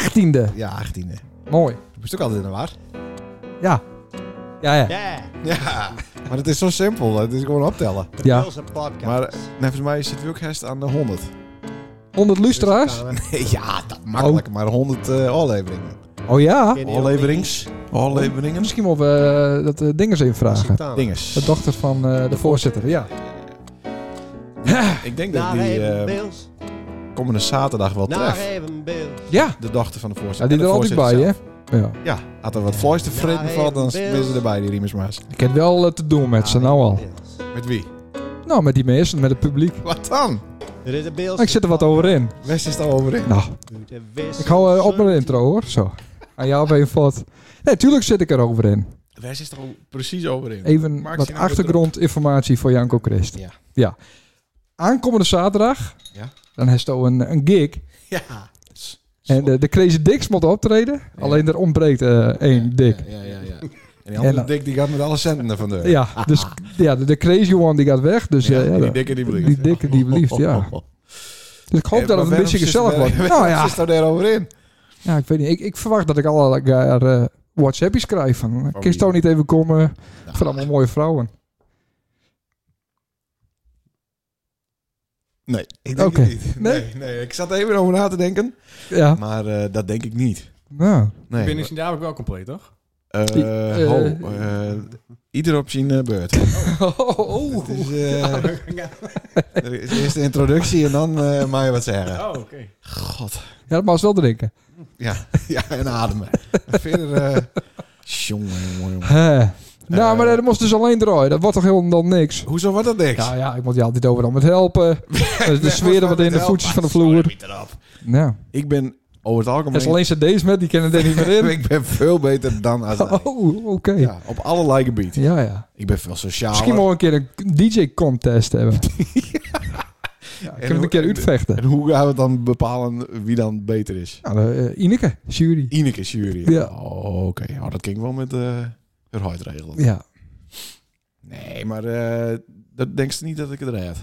18e. Ja, 18e. Mooi. Je moest ook altijd in de war. Ja. Ja, ja. Yeah, Ja. Maar het is zo simpel. Het is gewoon optellen. de Ja. Bills en podcast. Maar Dus eh, nee, volgens mij zitten we ook herst aan de 100. 100 Dus dan lustra's. gaan we- ja, dat makkelijk. Maar 100 eh afleveringen. Oh ja. Kenny Afleverings. Afleveringen. Misschien moeten we eh, dat eh, dingers invragen. Olding. Dinges. De dochter van eh, de voorzitter, ja. Eh, Ik denk dat Naar die even eh, Bills. komende zaterdag wel Naar treft. even Bills. Ja, De dochter van de ja voorzitter. Ah, die er En de altijd bij, voorzitter hè? Ja. zelf. Ja, had er wat vlees te vreten Nou, valt, dan hey, zijn ze Bill. erbij, die riemersmaas. Ik heb wel eh, te doen met ze, nou al. Met wie? Nou, met die mensen, met het publiek. Wat dan? Dit is de Bills. Maar Ah, ik zit er wat over in. West is daar over in. Nou, in. ik hou eh, op mijn intro, hoor. Zo. Aan jou ben je vod. Nee, tuurlijk zit ik er over in. West is er al precies over in. Even Maak wat je nou achtergrondinformatie voor Janko Christ. Ja. ja. Aankomende zaterdag, Ja. dan heeft hij een, een gig. Ja. En de, de Crazy Dicks moet optreden. Alleen er ontbreekt eh, één dik. Ja, ja, ja. ja. En die En andere dan- dik die gaat met alle centen er vandoor. Ja, dus ja, de, de Crazy One die gaat weg. Dus, eh, ja, die dat- dikke die blijft. die dikke die blijft, ja. Dus ik hoop Eh, dat maar het een beetje gezellig waarom zit- wordt. waarom Nou ja, zit daar daarover in? ja, ik weet niet. Ik, ik verwacht dat ik alle eh, WhatsAppjes krijg van... Kun je wie? toch niet even komen? Nou, Van allemaal mooie vrouwen. Nee, ik denk Oké. het niet. Nee? Nee? nee, ik zat even over na te denken. Ja, Maar eh, dat denk ik niet. nou. Nee. Binnen is die namelijk wel compleet, toch? Eh, Eh, ho, eh, ieder op zijn eh, beurt. Het is, eh, er is eerst de introductie en dan eh mag je wat zeggen. Oh, oké. God. Ja, dat mag ze wel drinken. Ja, ja en ademen. En verder... eh jongen, jongen, jongen. Hè. nou, Eh. maar dat moest dus alleen draaien. Dat wordt toch helemaal niks? Hoezo wordt dat niks? Nou ja, ik moet je altijd overal met helpen. Dus De, de sfeer er wat in, de voetjes van de vloer. Nou, Ik ben over het er is algemeen... alleen cd's met, die kennen er niet meer in. ik ben veel beter dan als hij. Oh, oké. Ja. Ja, Nou, op allerlei gebieden. ja, Ik ben veel sociaal. Misschien moeten we een keer een DJ-contest hebben. ja. kunnen we het een keer uitvechten. En hoe gaan we het dan bepalen wie dan beter is? Nou, de, eh, Ineke, jury. Ineke is jury. Ja. Oh, oké. Nou, dat ging wel met eh haar huid regelen. Ja. Nee, maar eh, dat denk je niet dat ik het red.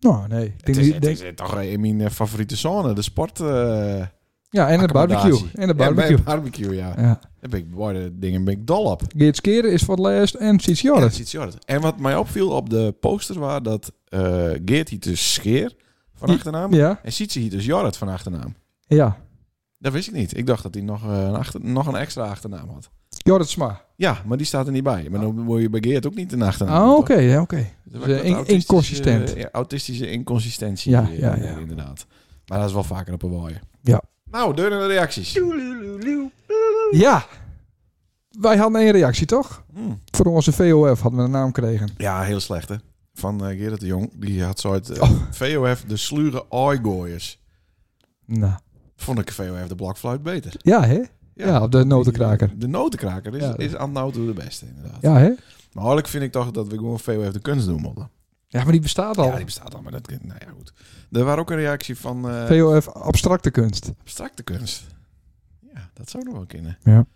Nou, nee. Ik Het denk is, die- het denk- is toch in mijn eh, favoriete zone, de sport. eh ja, en het barbecue. En het Ja, barbecue. bij barbecue, ja. Ja. Daar ben ik, waar de dingen ben ik dol op. Geert Skeren is voor het laatst en Siets Ja, Jorrit. oh, dat is iets jord. En wat mij opviel op de poster was dat eh Geert hier dus Scheer van Die- achternaam. Ja, En ziet ze hier dus Jorrit van achternaam. ja. Dat wist ik niet. Ik dacht dat hij nog, eh, een, achter, nog een extra achternaam had. Jorrit Sma. Ja, maar die staat er niet bij. Maar dan word je bij Geert ook niet een achternaam. Ah, toch? oké, ja, oké. Dat Dus, wordt eh, wat in- inconsistent. autistische- ja, Autistische inconsistentie. Ja, Ja, ja, ja, ja. inderdaad. Maar dat is wel vaker op een waaien. Ja. Nou, deur naar de reacties. Ja. Wij hadden één reactie, toch? Hm. Voor onze VOF hadden we een naam gekregen. Ja, heel slecht hè. Van eh Gerrit de Jong. Die had zo uit eh, Oh. VOF de slure ooigooiers. Nou. Vond ik VOF de blokfluit beter. Ja, hè? Ja, op de notenkraker. De notenkraker is, Ja. is aan nou toe de beste inderdaad. Ja, hè? Maar eigenlijk vind ik toch dat we gewoon VOF de kunst doen moeten. Ja, maar die bestaat al. Ja, die bestaat al, maar dat... Nou ja, goed. Er was ook een reactie van eh, VOF abstracte kunst. abstracte kunst. Ja, dat zou nog wel kunnen. Ja.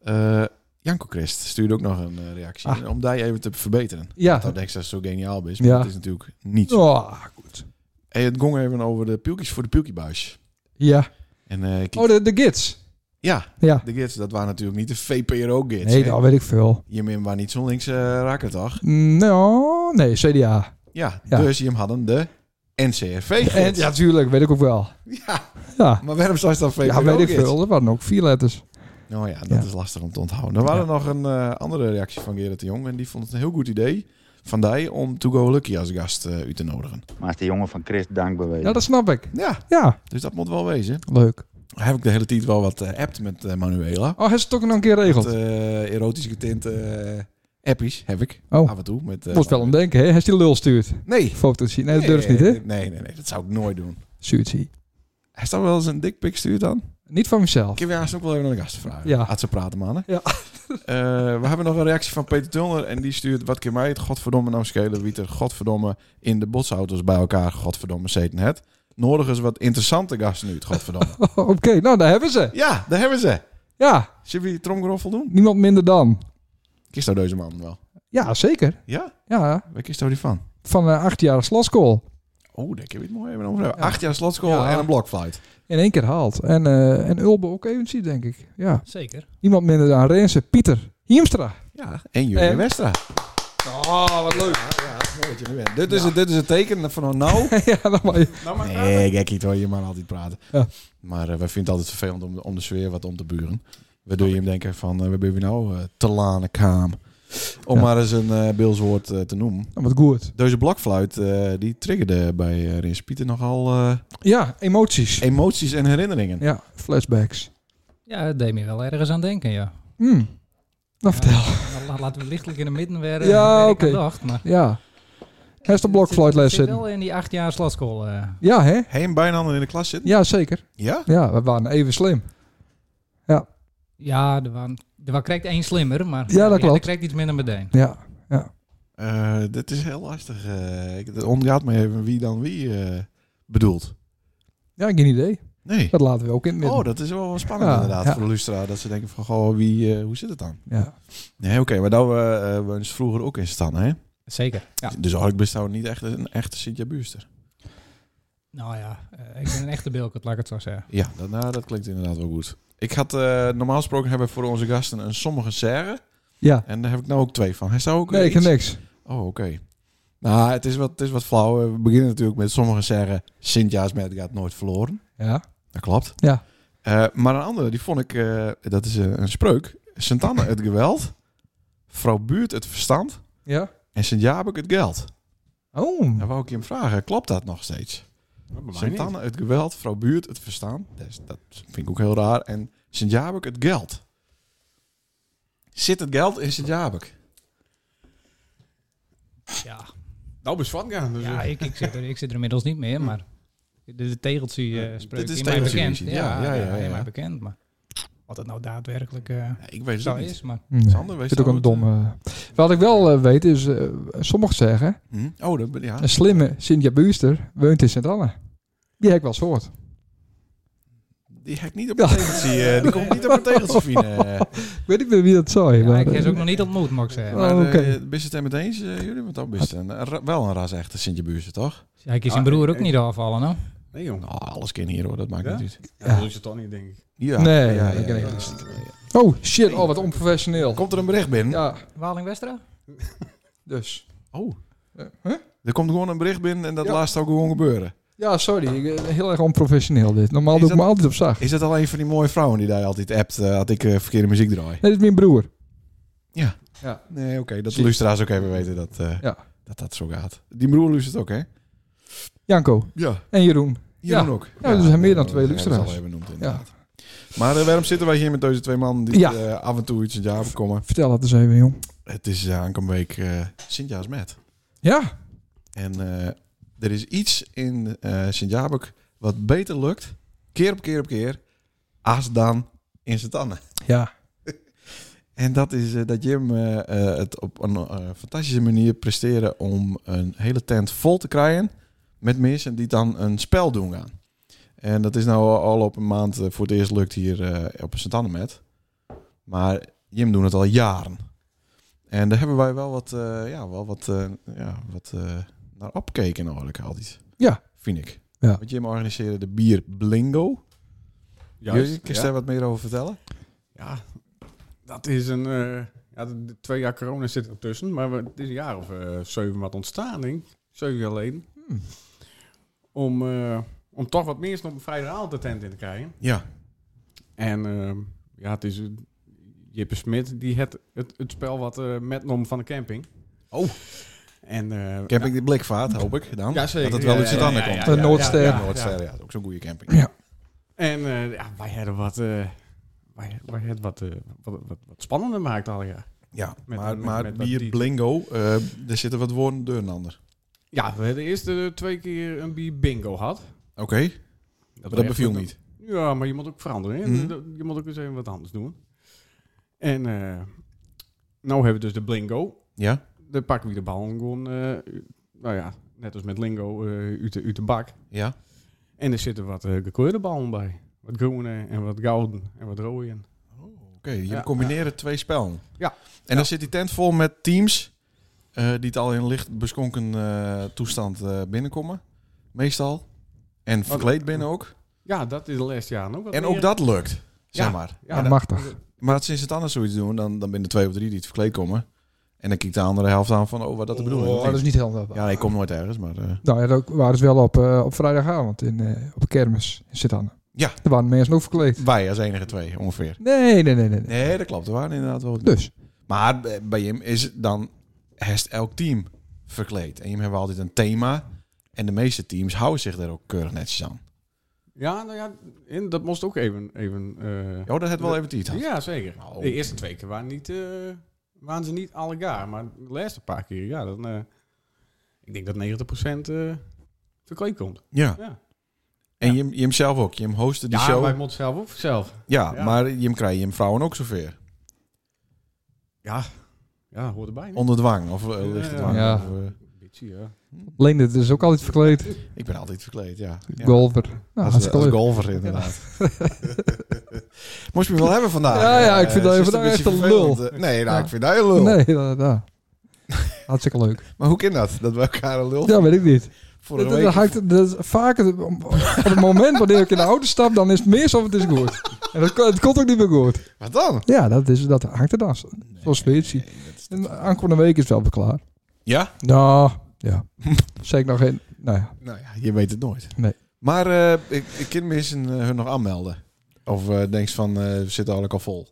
Eh, Janko Christ stuurde ook nog een eh, reactie. Ah. Om die even te verbeteren. Ja. Dat denk ik dat het zo geniaal is. Maar Ja. dat is natuurlijk niet zo. Oh, goed. Hey, het ging even over de pieltjes voor de pielkiebuis. Ja. En eh, kijk- Oh, de, de gids. ja, Ja. de gids, dat waren natuurlijk niet de VPRO-gids. Nee, dat weet ik veel. Je min waren niet zo'n linkse eh, rakker, toch? Nou, nee, CDA. Ja, Ja. dus je hem hadden de ncrv En, ja, dus- tuurlijk, weet ik ook wel. Ja, Ja. maar waarom zou je dan VPRO Ja, -gids? weet ik veel. Er waren ook vier letters. Nou ja, dat Ja. is lastig om te onthouden. Er waren nog een eh, andere reactie van Gerrit de Jong. En die vond het een heel goed idee van die om To Go Lucky als gast eh, u te nodigen. Maar is de jongen van Chris dankbaar weet. Ja, dat snap ik. Ja, Ja, dus dat moet wel wezen. leuk. Daar heb ik de hele tijd wel wat eh, appt met eh, Manuela. Oh, hij is het ook nog een keer Met, geregeld. eh, erotisch getinte eh, appies heb ik Oh. af en toe. Met, eh, Moest wel aan denken, hè? Hij is die lul stuurt. Nee. Foto's zien. Nee, dat durft niet, hè? Nee, nee, nee, nee, dat zou ik nooit doen. Suitie. Hij staat wel eens een dikpik stuurt dan. Niet van mezelf. Ik heb je haast ook wel even naar de gasten vragen. Ja. Had ze praten, mannen. Ja. Eh, we hebben nog een reactie van Peter Tulner. En die stuurt, wat kan mij het godverdomme nou schelen... wie er godverdomme in de botsauto's bij elkaar godverdomme zeten het. Nodig eens wat interessante gasten nu, het godverdomme. Oké, nou daar hebben ze. ja, daar hebben ze. Ja, Zullen we die tromgeroffel doen? niemand minder dan. Kies nou deze man wel. Ja, zeker. Ja? Ja, eh, Waar kiest nou die van? van een achtjarige sloskool. Oh, daar heb ik het mooi even over. hebben. Ja. Acht jaar slotschool Ja. en een blokflight. In één keer haalt. En, eh en Ulbe ook eventjes, denk ik. Ja. Zeker. Iemand minder dan Rensen. Pieter Hiemstra. Ja, en Jurgen En- Westra. Ah, Oh, wat leuk. Dit is, het, dit is het teken van nou. ja, dan maar je- Nee, gekkie, hoor je maar altijd praten. Ja. Maar eh, wij vinden het altijd vervelend om, om de sfeer wat om te buren. Waardoor je hem denken van, we waar ben je nou? eh te lane kaam. Om Ja. maar eens een eh beelswoord eh, te noemen. nou, wat goed. Deze blokfluit, eh, die triggerde bij eh, Rins Pieter nogal eh, Ja, emoties. emoties en herinneringen. Ja, flashbacks. Ja, dat deed me wel ergens aan denken, ja. Hmm. Nou, Ja, vertel. la- Laten we lichtelijk in het midden werden. Ja, waar ik oké. aan dacht, maar Ja. Hij is de het blokfluit zit- les het zit zitten. wel in die acht jaar slotschool. eh. Ja, hè? Heen bijna in de klas zitten? Ja, zeker. Ja? Ja, we waren even slim. Ja, er waren, er was krijgt één slimmer, maar Ja, dat klopt. Er krijgt iets minder meteen. Ja. Eh, dit is heel lastig. eh. ik, het ontgaat me even wie dan wie eh, bedoelt. Ja, geen idee. Nee. Dat laten we ook in het midden. Oh, dat is wel spannend Ja, inderdaad ja. voor de Lustra. Dat ze denken van, goh, wie, eh, hoe zit het dan? Ja. Nee, oké, maar daar we, eh, we eens vroeger ook in staan, hè? Zeker. Ja. Dus eigenlijk bestaan niet echt een echte Sintja Buurster. Nou ja, eh, ik ben een echte bilkert, laat ik het zo zeggen. Ja, dat, nou, dat klinkt inderdaad wel goed. Ik had, eh, normaal gesproken hebben we voor onze gasten een sommige serre. Ja. En daar heb ik nou ook twee van. Hij zou ook Nee, ik iets- heb niks. Oh, oké. Nou, het is, wat, het is wat flauw. We beginnen natuurlijk met sommigen zeggen... Sint-Jaas met gaat nooit verloren. Ja. Dat klopt. Ja. Eh, maar een andere, die vond ik... eh, dat is eh, een spreuk. Sint-Anne het geweld. Vrouw Buurt het verstand. Ja. En Sint-Jabek het geld. Oh. Dan wou ik je hem vragen. Klopt dat nog steeds? Sint-Anne het geweld. Vrouw Buurt het verstaan. Dat, is- dat vind ik ook heel raar. En Sint-Jabek het geld. Zit het geld in Sint-Jabek? Ja, Nou, besvat gaan. Dus, ja eh, ik, ik, zit er, ik zit er inmiddels niet meer, maar de, de tegeltje eh, spreekt is in mij tegeltje bekend. muziek, ja, ja, ja, in ja. mij bekend, maar wat het nou daadwerkelijk eh, Ja, ik weet het zo ook niet. is. Maar Nee. Sander, wees Dit is ook nou een goed, domme. Wat ik wel eh, weet is, eh, sommigen zeggen, Hm? Oh, dat ben ja. een slimme Sintja Buurster woont in Sint-Anne. Die heb ik wel eens gehoord. Die heb ik niet op Ja. een tegeltje. eh, die komt niet op een tegeltje eh. vinden. Ik weet niet meer wie dat zei. ja, maar, ik heb eh, ze ook nog niet ontmoet, mag ik zeggen. Oh, Maar oké. eh, ben je het er met eens, eh, jullie? Want dan is het een, een ra- wel een ras echte Sintje Buurzen, toch? Ja, ik is zijn broer ook niet afvallen, nou. nee, jong. Nou, alles kan hier hoor, dat maakt Ja? niet uit. Ja, dat is het toch niet, denk ik. Ja, Nee, ja, dat ken ik niet. Oh shit, oh wat onprofessioneel. Komt er een bericht binnen? Ja, Waling-Westra? dus. Oh. Eh, huh? Er komt gewoon een bericht binnen en dat Ja. laatst laatst ook gewoon gebeuren. Ja, sorry. ik, eh, Heel erg onprofessioneel dit. Normaal Is doe ik dat- me altijd op zacht. Is dat alleen van die mooie vrouwen die daar altijd appt eh, had ik eh, verkeerde muziek draai? Nee, dit is mijn broer. Nee, oké. dat de Zie- luisteraars ook even weten dat, eh, Ja. dat dat zo gaat. Die broer luistert ook, hè? Janko Ja. en Jeroen. Jeroen ook. Ja, dus er zijn meer dan we twee hebben het luisteraars. al even benoemd, inderdaad. Maar eh, waarom zitten wij hier met deze twee mannen die Ja. eh, af en toe iets in Java komen? Vertel dat eens even, jong. Het is uh, aankomende week eh Sint-Jaas met. Ja. En eh, er is iets in eh Sint-Jabek wat beter lukt, keer op keer op keer, als dan in zijn tanden. Ja. En dat is eh, dat Jim eh, eh, het op een eh, fantastische manier presteren om een hele tent vol te krijgen met mensen die dan een spel doen gaan. En dat is nou al op een maand eh, voor het eerst lukt hier eh, op Sint met. Maar Jim doet het al jaren. En daar hebben wij wel wat, eh, ja, wel wat, eh, ja, wat eh, naar opkeken eigenlijk altijd. Ja. Vind ik. Ja. Want Jim organiseerde de bier Blingo. Jurgen, kun je daar ja. wat meer over vertellen? ja, dat is een... eh, ja, de, de twee jaar corona zit ertussen, maar we, het is een jaar of eh, zeven wat ontstaan, denk ik. Zeven jaar geleden. Hmm. Om, eh, om toch wat mensen op een vrijdagavond de tent in te krijgen. Ja. En eh, ja, het is... een- Jippe Smit, die het, het, het spel wat eh metnom van de camping. Oh. En, eh, Camping de Blikvaart, hoop ik dan. Ja, zeker. Dat het wel Ja, uit ja, Sint-Anne ja, ja, komt. De Noordster. Ja, ja. Noordster, ja. dat is Ook zo'n goede camping. Ja. En eh, ja, wij hadden wat, eh wij, wij hadden wat, eh, wat, wat, wat spannender maakt al ja. Ja, Met- maar, met- maar met wat bier die- Blingo, eh daar zitten wat woorden deur en ander. Ja, we hadden eerst eh, twee keer een bier bingo had. Oké, Dat, maar dat beviel niet. Ja, maar je moet ook veranderen. Hè? Mhm. Dat- Je moet ook eens even wat anders doen. En eh nou hebben we dus de bingo. Ja, Dan pakken we de bal gewoon, eh, nou ja, net als met lingo, eh uit, de, uit de bak. ja. En er zitten wat eh, gekleurde ballen bij. Wat groene en wat gouden en wat rode. Oké, je Ja, combineren twee spellen. Ja. En dan zit die tent vol met teams eh, die het al in licht beschonken eh, toestand eh, binnenkomen. meestal. En verkleed ben ook. Ja, dat is de laatste jaren ook wat En meer. ook dat lukt, zeg Ja. maar. Ja, Ja, dat- Ah, machtig. Maar sinds het anders zoiets doen, dan, dan ben je twee of drie die het verkleed komen. En dan kijkt de andere helft aan van, oh, wat dat de bedoeling Oh, dat is niet heel Ja, ik kom nooit ergens, maar... eh, Nou ja, dat waren ze wel op, eh, op vrijdagavond in, eh, op de kermis in Sint-Anne. Ja. Er waren mensen ook verkleed. wij als enige twee, ongeveer. Nee, nee, nee, nee. nee. Nee, dat klopt. Er waren inderdaad wel... Dus, Maar bij- bij hem is het dan heeft elk team verkleed. En hem hebben altijd een thema. En de meeste teams houden zich daar ook keurig netjes aan. Ja, nou ja, en dat moest ook even... even eh, Oh, dat het wel even iets had. ja, zeker. Nou. De eerste twee keer waren, niet, eh, waren ze niet allegaar. Maar de laatste paar keer, ja, dan... eh, ik denk dat 90% eh verkleed komt. Ja. Ja, En Jim, Jim zelf ook. Jim hostte die ja show. wij moeten zelf ook zelf. ja, ja. maar Jim krijgt Jim vrouwen ook zover. Ja, hoort erbij. Een Onder dwang. Of eh, Ja, licht ja. dwang. Ja. Of, eh, beetje, ja. Leende is ook altijd verkleed. ik ben altijd verkleed, ja. ja. Golfer. Nou, Als, hartstikke als leuk. golfer inderdaad. Moest je me wel hebben vandaag. Ja, ja, ik Eh, vind dat ze je is vandaag beetje echt een vervelend, eh. Nee, nou, Ja. ik vind dat je lul. Nee, dat, dat. Hartstikke leuk. Maar hoe kan dat? Dat we elkaar een lul Ja, weet ik niet. vorige dat, week... dat hangt, dat is vaak het, om- op het moment wanneer ik in de auto stap, dan is het mis of het is goed. En dat, ko- het komt ook niet meer goed. Wat dan? Ja, dat, is, dat hangt er dan. Zoals Spitsie. En aankomende week is het wel beklaard. Ja? Nou, ja. Zeker nog in. Nou ja. Nou ja, je weet het nooit. Nee. Maar eh, ik, ik kan misschien eh, hun nog aanmelden. Of eh denk je van, eh, we zitten eigenlijk al vol.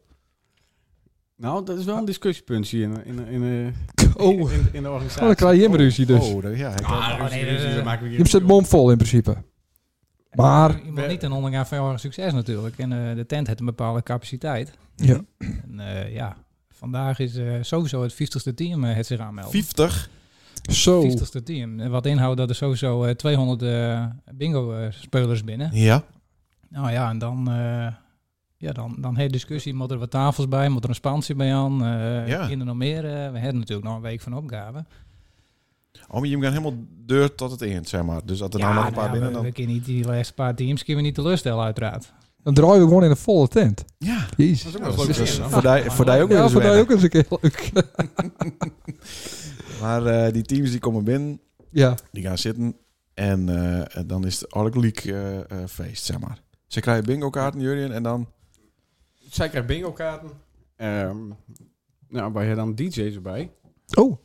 Nou, dat is wel een discussiepuntje in, in, in, eh, Oh, in, in de organisatie. Oh, dan krijg je hem ruzie dus. Oh, dat- ja. ik- Ah, nee, ruzie, eh, dan maken we Je zit bomvol in principe. Maar, Je mag niet een ondergaan van jouw succes natuurlijk. En eh, de tent heeft een bepaalde capaciteit. ja. En eh, ja, vandaag is eh, sowieso het 50ste team eh, het zich aanmelden. 50. Zo. 50ste team. En Wat inhoudt dat er sowieso eh, 200 bingo-spelers binnen. Ja. Nou ja, en dan... eh ja, dan, dan heeft discussie. Moet er wat tafels bij? Moet er een spansje bij aan? eh Ja. Kinderen nog meer? eh, we hebben natuurlijk nog een week van opgave. Oh, maar je gaat helemaal deur tot het eind, zeg maar. Dus dat er nou nog een paar nou ja, binnen we, dan... we kunnen niet die laatste paar teams kunnen we niet teleurstellen uiteraard. Dan draaien we gewoon in een volle tent. Ja. Jezus. Ja, ook wel dat leuk. is- Dus- dat is Ja. voor die- voor die ook weer Ja, eens voor mij wennen. ook eens een keer leuk. Maar eh, die teams die komen binnen, ja. die gaan zitten. En eh, dan is het Ork League eh, eh, feest, zeg maar. Ze krijgen bingo kaarten, Jurien, en dan... Zij krijgt bingo kaarten. Ehm, nou, wij hebben dan DJ's erbij. Oh,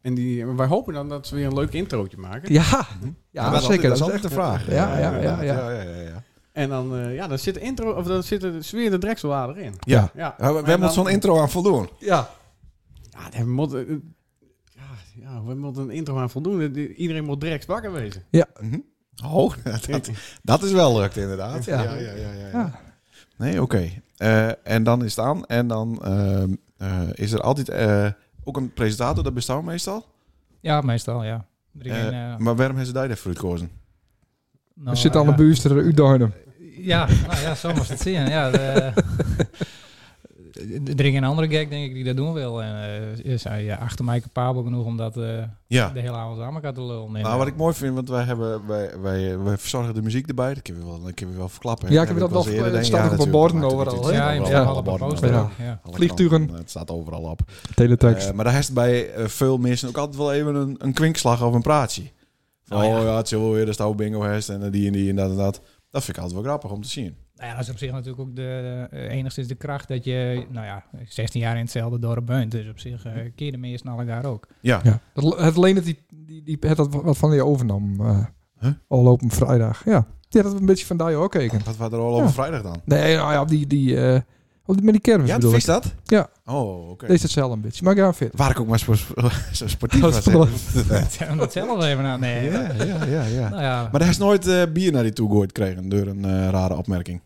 En die, wij hopen dan dat ze weer een leuk introotje maken. ja. Hm. Maar Ja, dat is Ah, zeker. altijd- Dat is echt altijd de vraag. Ja, ja, ja, ja. ja, ja, ja. En dan, eh, ja, dan zit de intro, of dan zit de sfeer de drekselwader in. Ja. Ja, We, we Maar hebben dan- ons zo'n intro aan voldoen. Ja. Nou, Ja, daar moet, eh, ja, ja, we moeten een intro aan voldoen. Die- Iedereen moet direct wakker wezen. Mhm. Oh, dat, dat is wel lukt inderdaad. Ja. ja, ja, ja, ja. Ja. Nee, oké. Eh, en dan is het aan. En dan ehm, eh, is er altijd eh, ook een presentator, dat bestaat meestal. Ja, meestal ja. Er is Eh, een, eh, Maar waarom hebben ze daar voor gekozen? nou, Er zit aan ja. de buurster u Duinem. Ja, nou ja, zo moest het zien. Ja, de, er ging een andere gek, denk ik, die dat doen wil. En eh, is hij eh, achter mij capabel genoeg om dat eh, Ja. de hele avond aan elkaar te lullen. En, Nou, wat ik mooi vind, want wij, hebben, wij, wij, eh, wij verzorgen de muziek erbij. Dat kunnen we wel, dat kunnen we wel verklappen. Ja, ik heb dat wel verklappen. verklappen. Het staat ook op borden overal, hè? ja, je Ja, moet ja. wel op een poster. Ja. ook, Ja. Vliegtuigen. eh, Het staat overal op. Teletext. Eh, maar daar heeft bij eh, veel mensen ook altijd wel even een, een kwinkslag of een praatje. Van, oh, Oh, Nou ja. ja. het is wel weer de stouw bingo hest en eh, die en die en dat en dat. Dat vind ik altijd wel grappig om te zien. Nou ja, dat is op zich natuurlijk ook de, eh, enigszins de kracht dat je, nou ja, 16 jaar in hetzelfde dorp bent. Dus op zich eh keer de meesten naar elkaar ook. Ja. Ja. Dat, het leende die, die, die het dat wat van je overnam. eh Huh? Al op een vrijdag. Ja. Die had het een beetje van daar ook keken. Wat waren er al op Ja. vrijdag dan? Nee, nou ja, op die, die, eh, op die, met die kermis Ja, bedoel is ik. dat? Ja. Oh, oké. Deze hetzelfde een beetje. Maar ja, fit. Waar ik ook maar zo, zo sportief Dat was. is hè. Om dat zelf even aan. Nee, ja, ja, ja, ja. nou ja. Maar daar is nooit eh, bier naar die toe gegooid gekregen door een eh, rare opmerking.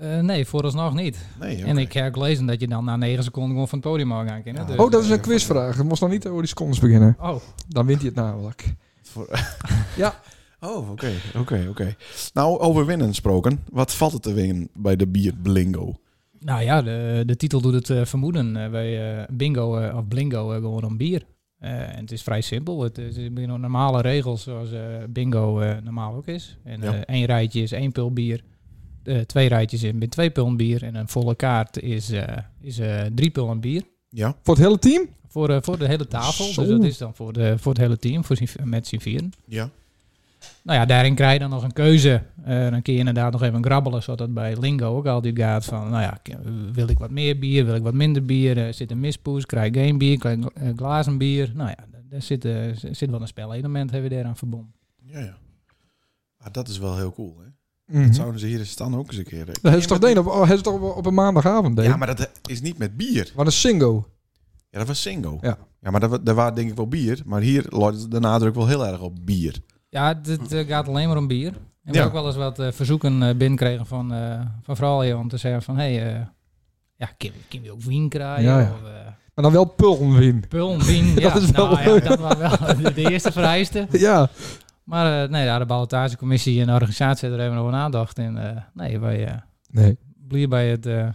eh, nee, vooralsnog niet. Nee, oké. En ik heb gelezen dat je dan na 9 seconden gewoon van het podium mag gaan kennen. Ja. dus- Oh, dat is een quizvraag. Het moest nog niet over die secondes beginnen. Oh, Dan wint hij het namelijk. Voor- Ja. Oh, oké, oké, oké. Nou, over winnen gesproken. Wat valt het te winnen bij de bierblingo? nou ja, de, de titel doet het eh, vermoeden. Eh, wij eh, bingo eh, of blingo eh, gewoon om bier. Eh, en het is vrij simpel. Het is het zijn normale regels zoals eh, bingo eh, normaal ook is. En Ja. eh, één rijtje is één pul bier. Eh, twee rijtjes is met twee pullen bier. En een volle kaart is, eh, is eh, drie pullen bier. Ja. Voor het hele team? Voor, eh, voor de hele tafel. Zo. Dus dat is dan voor, de, voor het hele team, voor z'n- met z'n vieren. Ja. Nou ja, daarin krijg je dan nog een keuze. Eh, dan kun je inderdaad nog even grabbelen, zodat het bij Lingo ook altijd gaat van, nou ja, k- wil ik wat meer bier, wil ik wat minder bier, eh, zit een mispoes, krijg ik geen bier, krijg ik gla- eh, glazen bier. Nou ja, d- daar zit, eh, z- zit wel een spelelement hebben we daar aan verbonden. Ja, ja. Ah, dat is wel heel cool, hè? Mhm. Dat zouden ze hier in Stan ook eens een keer... Dat hebben ze toch, deden op, hebben ze toch op, op een maandagavond deed. Ja, maar dat eh, is niet met bier. Wat een single. Ja, dat was single. Ja. ja maar dat, daar was denk ik wel bier. Maar hier loopt de nadruk wel heel erg op bier. Ja, het eh, gaat alleen maar om bier. En we Ja. ook wel eens wat eh, verzoeken eh binnenkregen van, eh van vrouwen om te zeggen van, hé, hey, eh, ja, kun kun je ook wien krijgen? Ja, ja. Of, eh, Maar dan wel pulmwin. Pul, wien, ja. is wel nou, ja, leuk. dat was wel de- de eerste vereiste. Ja, Maar eh, nee, ja, de ballotagecommissie en de organisatie hebben er even over nagedacht. En eh, nee, wij eh nee. blij bij het... eh,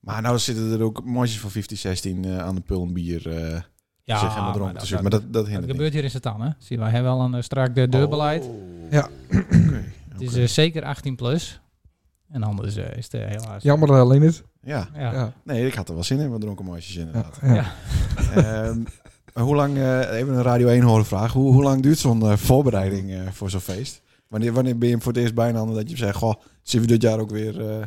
Maar nou zitten er ook mooisjes van 1516 eh aan de pul en bier eh ja, zich helemaal maar dronken te dat- zuipen. dus Maar dat, dat dat hindert gebeurt hier in Satan, hè? Zie, wij hebben wel een eh, strak eh, deurbeleid. Oh, Ja. Het is eh, zeker 18 plus. En anders eh, is het eh, helaas... Jammer dat alleen het. Ja, Ja. Ja. nee, ik had er wel zin in, wat dronken mooisjes Ja, inderdaad. ja. Ehm, maar hoe lang, eh, even een Radio 1 horen vraag, hoe, hoe lang duurt zo'n eh, voorbereiding eh, voor zo'n feest? Wanneer, wanneer ben je hem voor het eerst bijna dat je zegt, goh, zien we dit jaar ook weer... eh,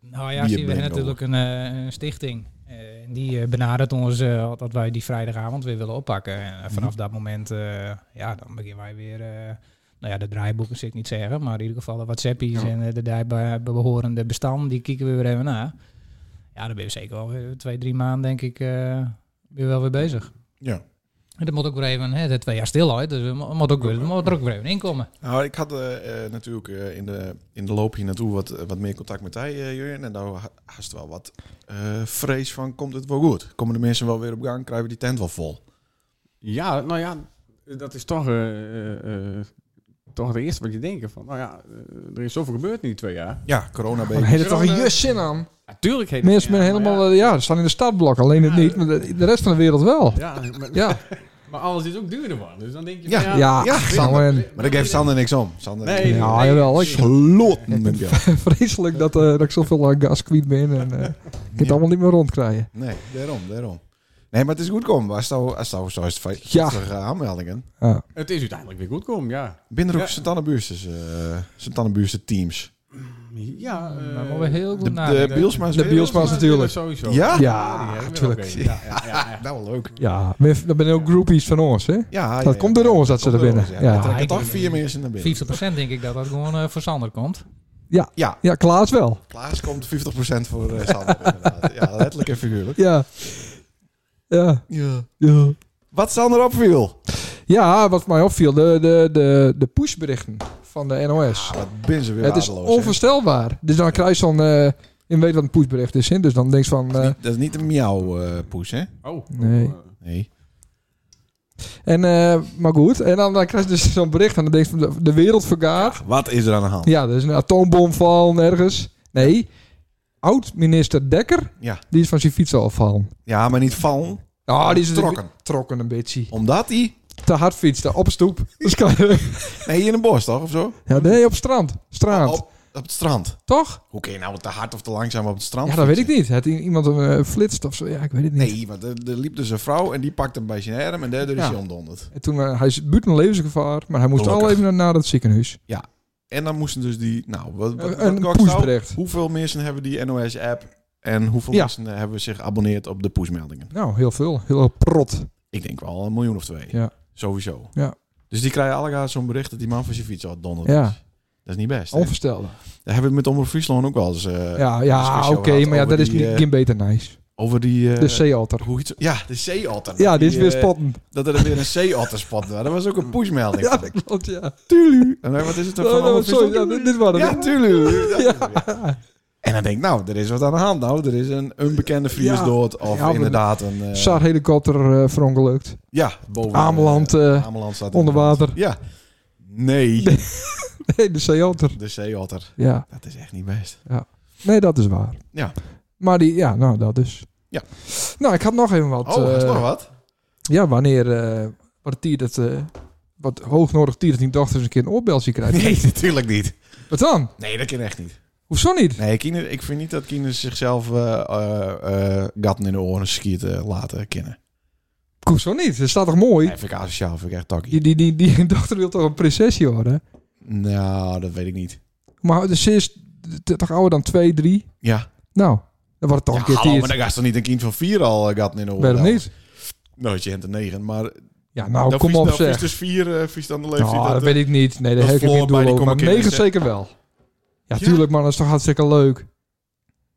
Nou ja, Bier zie, we brengen hebben natuurlijk een, eh, een stichting. Eh, en die eh, benadert ons eh, dat wij die vrijdagavond weer willen oppakken. En eh, vanaf Mhm. dat moment, eh, ja, dan beginnen wij weer... eh, nou ja, de draaiboeken zit ik niet zeggen, maar in ieder geval de WhatsAppies Ja. en eh, de daarbij behorende bestanden, die kijken we weer even na. Ja, dan ben je zeker wel weer twee, drie maanden, denk ik, eh weer wel weer bezig. Ja. En dat moet ook weer even, hè, dat twee jaar stil uit, dus we mo- moet ook weer, moet er ook weer even inkomen. Nou, ik had eh, eh, natuurlijk eh, in, de, in de loop hier naartoe wat, eh, wat meer contact met hij, eh, Jurjen. En daar ha- haast wel wat eh, vrees van, komt het wel goed? Komen de mensen wel weer op gang? Krijgen we die tent wel vol? Ja, nou ja, dat is toch, eh, eh, eh, toch het eerste wat je denkt. Van, nou ja, eh, er is zoveel gebeurd in die twee jaar. Ja, corona Maar baby. heeft het toch een jus zin aan? Natuurlijk heeft Mensen met helemaal, eh, ja, ze staan in de startblok. Alleen het niet, maar de, de rest van de wereld wel. Ja, maar, Ja, maar alles is ook duurder van. Dus dan denk je, Ja, van, ja. ja. ach, nou, en- Maar dat geeft Sander niks om. Sander Nee, Ja. ja, jawel. Ik Sloten met jou. vreselijk dat, eh, dat ik zoveel uh, gaskwiet ben. En, eh, ik kan het Ja. allemaal niet meer rondkrijgen. Nee, daarom, daarom. Nee, maar het is goed komen. Als nou, als nou zo is het feit- Ja. voor, eh, aanmeldingen. Ja. Het is uiteindelijk weer goed komen, ja. Binnen er ook Ja. Sint-Annebuursters eh Sint-Annebuurster teams. Ja, eh, maar we moeten heel goed De, de nadenken. Bielsma's De weer? Bielsma- Bielsma's natuurlijk. Sowieso. Ja? Ja, die hebben we tuurlijk. ook een. Ja, ja, ja, ja. Nou, wel leuk. ja, maar dat zijn ook groupies van ons, hè? Ja, Dat komt door ons dat ze er binnen. Ja, Ja. Er trekken Ja, toch ik- vier mensen naar binnen. 50% denk ik dat dat gewoon eh, voor Sander komt. Ja, Ja, Klaas wel. Klaas komt 50% voor eh Sander. inderdaad. ja, letterlijk en figuurlijk. Ja. Ja. Ja. Ja, Wat Sander opviel. ja wat mij opviel, de, de, de, de pushberichten van de NOS. Wat ben ze weer het is waardeloos, hè? onvoorstelbaar. Dus dan krijg je zo'n... eh, je weet wat een pushbericht is, hè? Dus dan denk je van... eh, Dat is niet een miauw-poes, hè? Oh. Nee. oh, eh, Nee. en, eh, maar goed, en dan, dan krijg je dus zo'n bericht en dan denk je van de, de wereld vergaat. Wat is er aan de hand? Ja, er is een atoombom vallen ergens. Nee, oud-minister Dekker, Ja. die is van zijn fiets afvallen. Ja, maar niet van. Ah, die is Trokken. trokken een beetje. Omdat hij... Te hard fietste, op stoep. Dus kan- Nee, hier in een bos, toch? Of zo? ja, nee, op strand. Strand, Op, op het strand. toch? Hoe kun je nou te hard of te langzaam op het strand Ja, dat weet ik fietsen? niet. Had i- iemand hem eh, flitst of zo? Ja, ik weet het niet. Nee, want er, er liep dus een vrouw en die pakte hem bij zijn arm en daardoor is Ja. hij omdonderd. En toen, eh, hij is buiten levensgevaar, maar hij moest Gelukkig. al even naar, naar het ziekenhuis. En dan moesten dus die... Nou, wat, wat, Een- wat een kost nou? pushbericht. Hoeveel mensen hebben die NOS-app? En hoeveel Ja. mensen hebben zich geabonneerd op de pushmeldingen? Nou, heel veel. Heel prot. Ik denk wel een miljoen of twee. Ja. Sowieso. Ja. Dus die krijgen allemaal zo'n bericht dat die man van zijn fiets al donderd Ja. is. Dat is niet best. hè? Onverstelde. Daar hebben we het met Omroep Friesland ook wel eens eh, Ja, discussie ja oké, over gehad, maar ja, over dat is die, niet eh, geen beter nice. over die... eh, De zeeotter. hoe iets, ja, de zeeotter. Ja, dit is Die, weer eh, spotten. Dat er weer een zeeotter spotte. Dat was ook een pushmelding. Ja, van. dat klopt, ja. En dan, wat is het er Oh, van nou, Omroep sorry, ja, Friesland? dit, dit waren Ja, het. tuurlijk. Dat is het weer. En dan denk ik, nou, er is wat aan de hand. Nou, er is een onbekende Friers Ja. dood. Of Ja, we- inderdaad een... eh, SAR-helikopter eh, verongelukt. ja, boven... Ameland eh, eh, Ameland staat in onder brand. water. Ja. Nee, Nee, de zeeotter. de zeeotter. Ja, Dat is echt niet best. nee, dat is waar. Ja. Maar die, ja, nou, dat dus. Ja. Nou, ik had nog even wat. oh, is eh, nog wat? Ja, wanneer eh, wat tier dat... eh, wat hoog nodig tier dat die dochter eens een keer een oorbeltje krijgt. Nee, natuurlijk niet. Wat dan? Nee, dat kan echt niet. Hoezo niet? Nee, kinderen, ik vind niet dat kinderen zichzelf eh eh, eh, gaten in de oren schieten laten eh, kennen. Koep zo niet. Dat staat toch mooi? Nee, vind ik asociaal, vind ik echt takkie. Die, die, die, die dochter wil toch een prinsesje worden? Nou, dat weet ik niet. Maar dus ze is t- toch ouder dan twee, drie? Ja. Nou, dan wordt het toch ja een keer hallo, maar tiert. dan gaat ze niet een kind van vier al eh, gatten in de oorlog. Waarom niet? Nou, je hebt er negen, maar... Ja, nou, dan kom vies- op dan vies zeg. dus vier, eh vies aan de leeftijd. Nou, dat dat, weet ik niet. Nee, dat dat heb ik Floor niet bij die doorlopen. Maar Common negen Kids, hè? zeker wel. Ja, Ja. tuurlijk man. Dat is toch hartstikke leuk.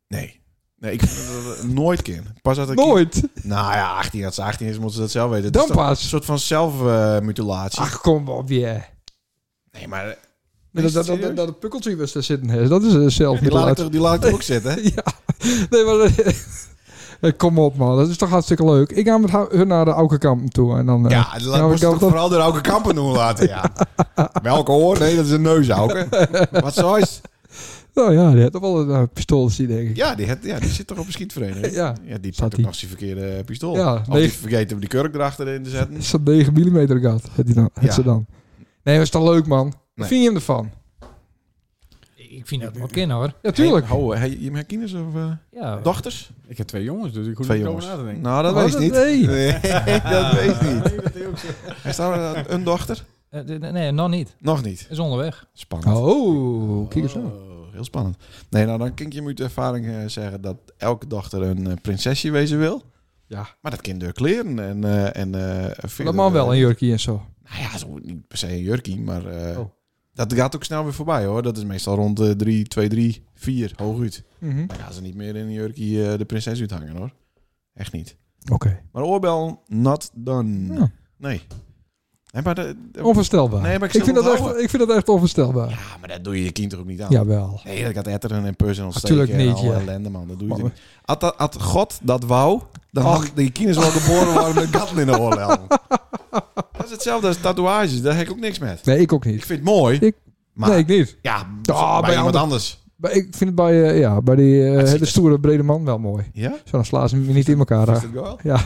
Nee. Nee, ik vind dat het nooit kind. Pas uit een kind- Nooit. Nou ja, 18, als ze 18 is, moeten ze dat zelf weten. Het Dan is toch pas. Een soort van zelfmutilatie. Ach, kom op, yeah. nee, maar... eh, Dat, dat, is het dat, serieus? dat, dat pukkeltje was daar zitten. hè. Dat is eh, zelf die, laat ik er, die laat ik er ook zitten, hè? Ja, nee, maar... eh, Kom op, man. Dat is toch hartstikke leuk. Ik ga met ha- hun naar de Aukenkamp toe. En dan, eh, Ja, dat Nou, moest ik je had toch dat- vooral door Auke Kampen doen laten, ja. Welke hoor? Nee, dat is een neus, Auke. Wat zo is? Nou ja, die had toch wel een eh, pistool zien, denk ik. Ja die, had- ja, die zit toch op een schietvereniging? Ja. Ja, die Zat pakt ook die. nog zijn verkeerde eh, pistool. Ja, of nee. die vergeet hem die kurk erachter in te zetten. Is dat 9 mm gat? Het, die dan, het Ja. ze dan. Nee, dat is toch leuk, man? Wat Nee. vind je hem ervan? Ik vind dat wel kennen hoor. Ja, tuurlijk. Hey, ho, hey, je hebt kinders of eh, Ja, dochters? Ik heb twee jongens, dus ik hoef Twee niet over jongens. na te denken. Nou, dat Oh, weet ik dat- niet. nee. dat weet ik niet. Nee, dat is ook zo. Is daar een- een dochter? Eh, d- d- nee, nog niet. Nog niet. Is onderweg. Spannend. Oh, kijk eens aan. Oh, heel spannend. Nee, nou dan kan ik je uit ervaring eh, zeggen dat elke dochter een eh, prinsesje wezen wil. Ja. Maar dat kind door kleren en... eh, en eh, Dat verder, man wel, eh, een jurkje en zo. Nou ja, zo, niet per se een jurkie, maar eh, Oh. dat gaat ook snel weer voorbij hoor. Dat is meestal rond eh, 3, 2, 3, 4, hooguit. Mhm. Dan gaan ze niet meer in een jurkie eh, de prinses uithangen hoor. Echt niet. Oké. Maar oorbel, not done. Ja. Nee. Nee, maar de- de- Onvoorstelbaar. Nee, maar ik ik, zal vind het dat echt, houden. ik vind dat echt onvoorstelbaar. ja, maar dat doe je je kind toch ook niet aan? Jawel. Nee, dat gaat etteren en personal Natuurlijk steken en niet, alle ja. ellende man. Dat doe je Maar- toch niet. Had, dat- had God dat wou, dan had die kinderen wel geboren worden met gaten in de oorlel. dat is hetzelfde als tatoeages. Daar heb ik ook niks met. Nee, ik ook Ik niet. vind het mooi, Ik- maar nee, ik niet. ja, bij bij, iemand ander- anders. Maar ik vind het bij, eh, ja, bij die eh, ziet hele er- stoere brede man wel mooi. Ja? Zo, dan slaan ze me niet in elkaar. hè. Ja.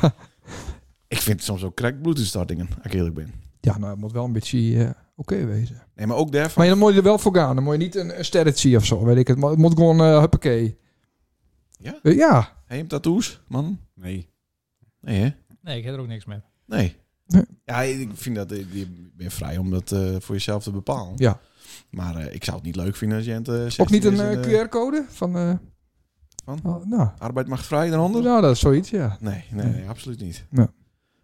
Ik vind soms ook crack bloeduitstortingen, als ik eerlijk ben. ja, nou, het moet wel een beetje eh, oké wezen. Nee, maar ook daarvan. Maar ja, dan moet je er wel voor gaan. Dan moet je niet een, een sterretje of zo, weet ik het. Maar Het moet gewoon, eh huppakee. Ja? Eh, ja. Heb je hem tattoos, man? Nee. Nee, hè? Nee, ik heb er ook niks mee. Nee. Nee. Ja, ik vind dat... eh, Je bent vrij om dat eh, voor jezelf te bepalen. Ja. Maar eh, ik zou het niet leuk vinden als je aan het, eh, 16 Ook niet een is en, eh, QR-code van... eh, Van? oh, nou, Arbeid mag vrij daaronder? nou, dat is zoiets, ja. Nee, nee, Nee. nee, absoluut niet.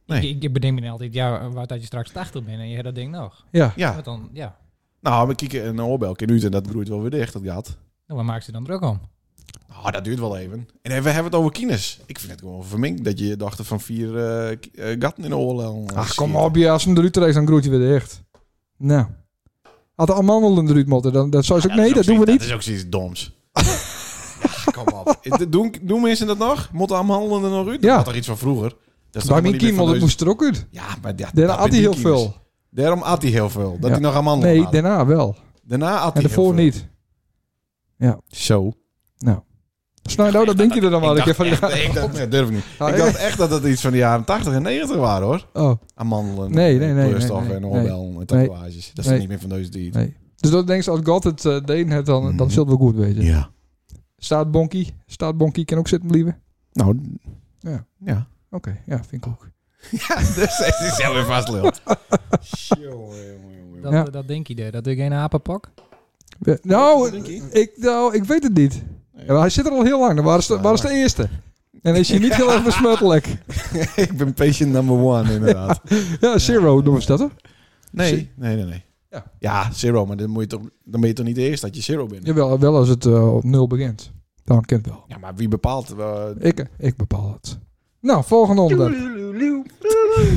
Nee. Ik, ik bedenk me altijd, ja, waar dat je straks 80 bent en je hebt dat ding nog. Ja, Ja, Want dan, ja, nou, we kijken een oorbel in uit en dat groeit wel weer dicht, dat gaat. nou, waar maak ze dan druk om? Nou, dat duurt wel even. En eh, we hebben het over kines. Ik vind het gewoon verminkt dat je je dochter van vier eh, k- eh, gatten in de oorlel... eh, Ach, kom schiet. op, ja, als hem eruit trekt, dan groeit hij weer dicht. Nou. Had de amandelen eruit moeten, dan, dan zou ze ook... nee, dat doen we Dat niet. is ook zoiets doms. ja, kom op. Eh, Doen, doen mensen dat nog? Moeten handelen er nog uit? Ja. Dat was toch iets van vroeger? Dat is Bij toch helemaal mijn niet meer kiem, van want het deze- moest er ook uit. Ja, maar dat, Daarna dat had met hij heel die kines. veel. Daarom at hij heel veel. Dat Ja. hij nog amandelen Nee, had. daarna wel. Daarna at En hij heel daarvoor veel. niet. Zo. Snijd, oh, dat denk je er dan wel een ik keer dacht van. echt, ik dacht, nee, durf ik niet. Ja, ik dacht echt dat dat iets van de jaren 80 en 90 waren hoor. Oh, Amandelen, Nee, en nee, nee, kleurstof nee, nee, en nee. oorbel en tatoeages. Dat is Nee. niet meer van deze die. nee. Dus dat denk je, als God het eh, deed, net, dan, Mhm. dan zult het wel goed wezen. Ja. Staat Bonkie? Staat Bonkie kan ook zitten blijven? Nou, Ja. ja. Oké, ja, vind ik ook. Ja, dus het is zelf weer vastlult. Dat, eh, Ja. dat denk je daar, dat ik geen apenpak. We- Nou, ik, nou, ik weet het niet. Ja, maar hij zit er al heel lang. Dan waren ze, waren ze de eerste. En is je niet heel erg besmettelijk. ik ben patient number one, inderdaad. Ja, zero noemen ze dat, hè? Nee, nee, nee. nee. Ja. Ja. zero, maar dan, moet je toch, dan ben je toch niet de eerste dat je zero bent? Jawel, wel als het eh, op nul begint. Dan kent wel. Ja, maar wie bepaalt... eh, Ik, eh, ik bepaal het. Nou, volgende onderwerp.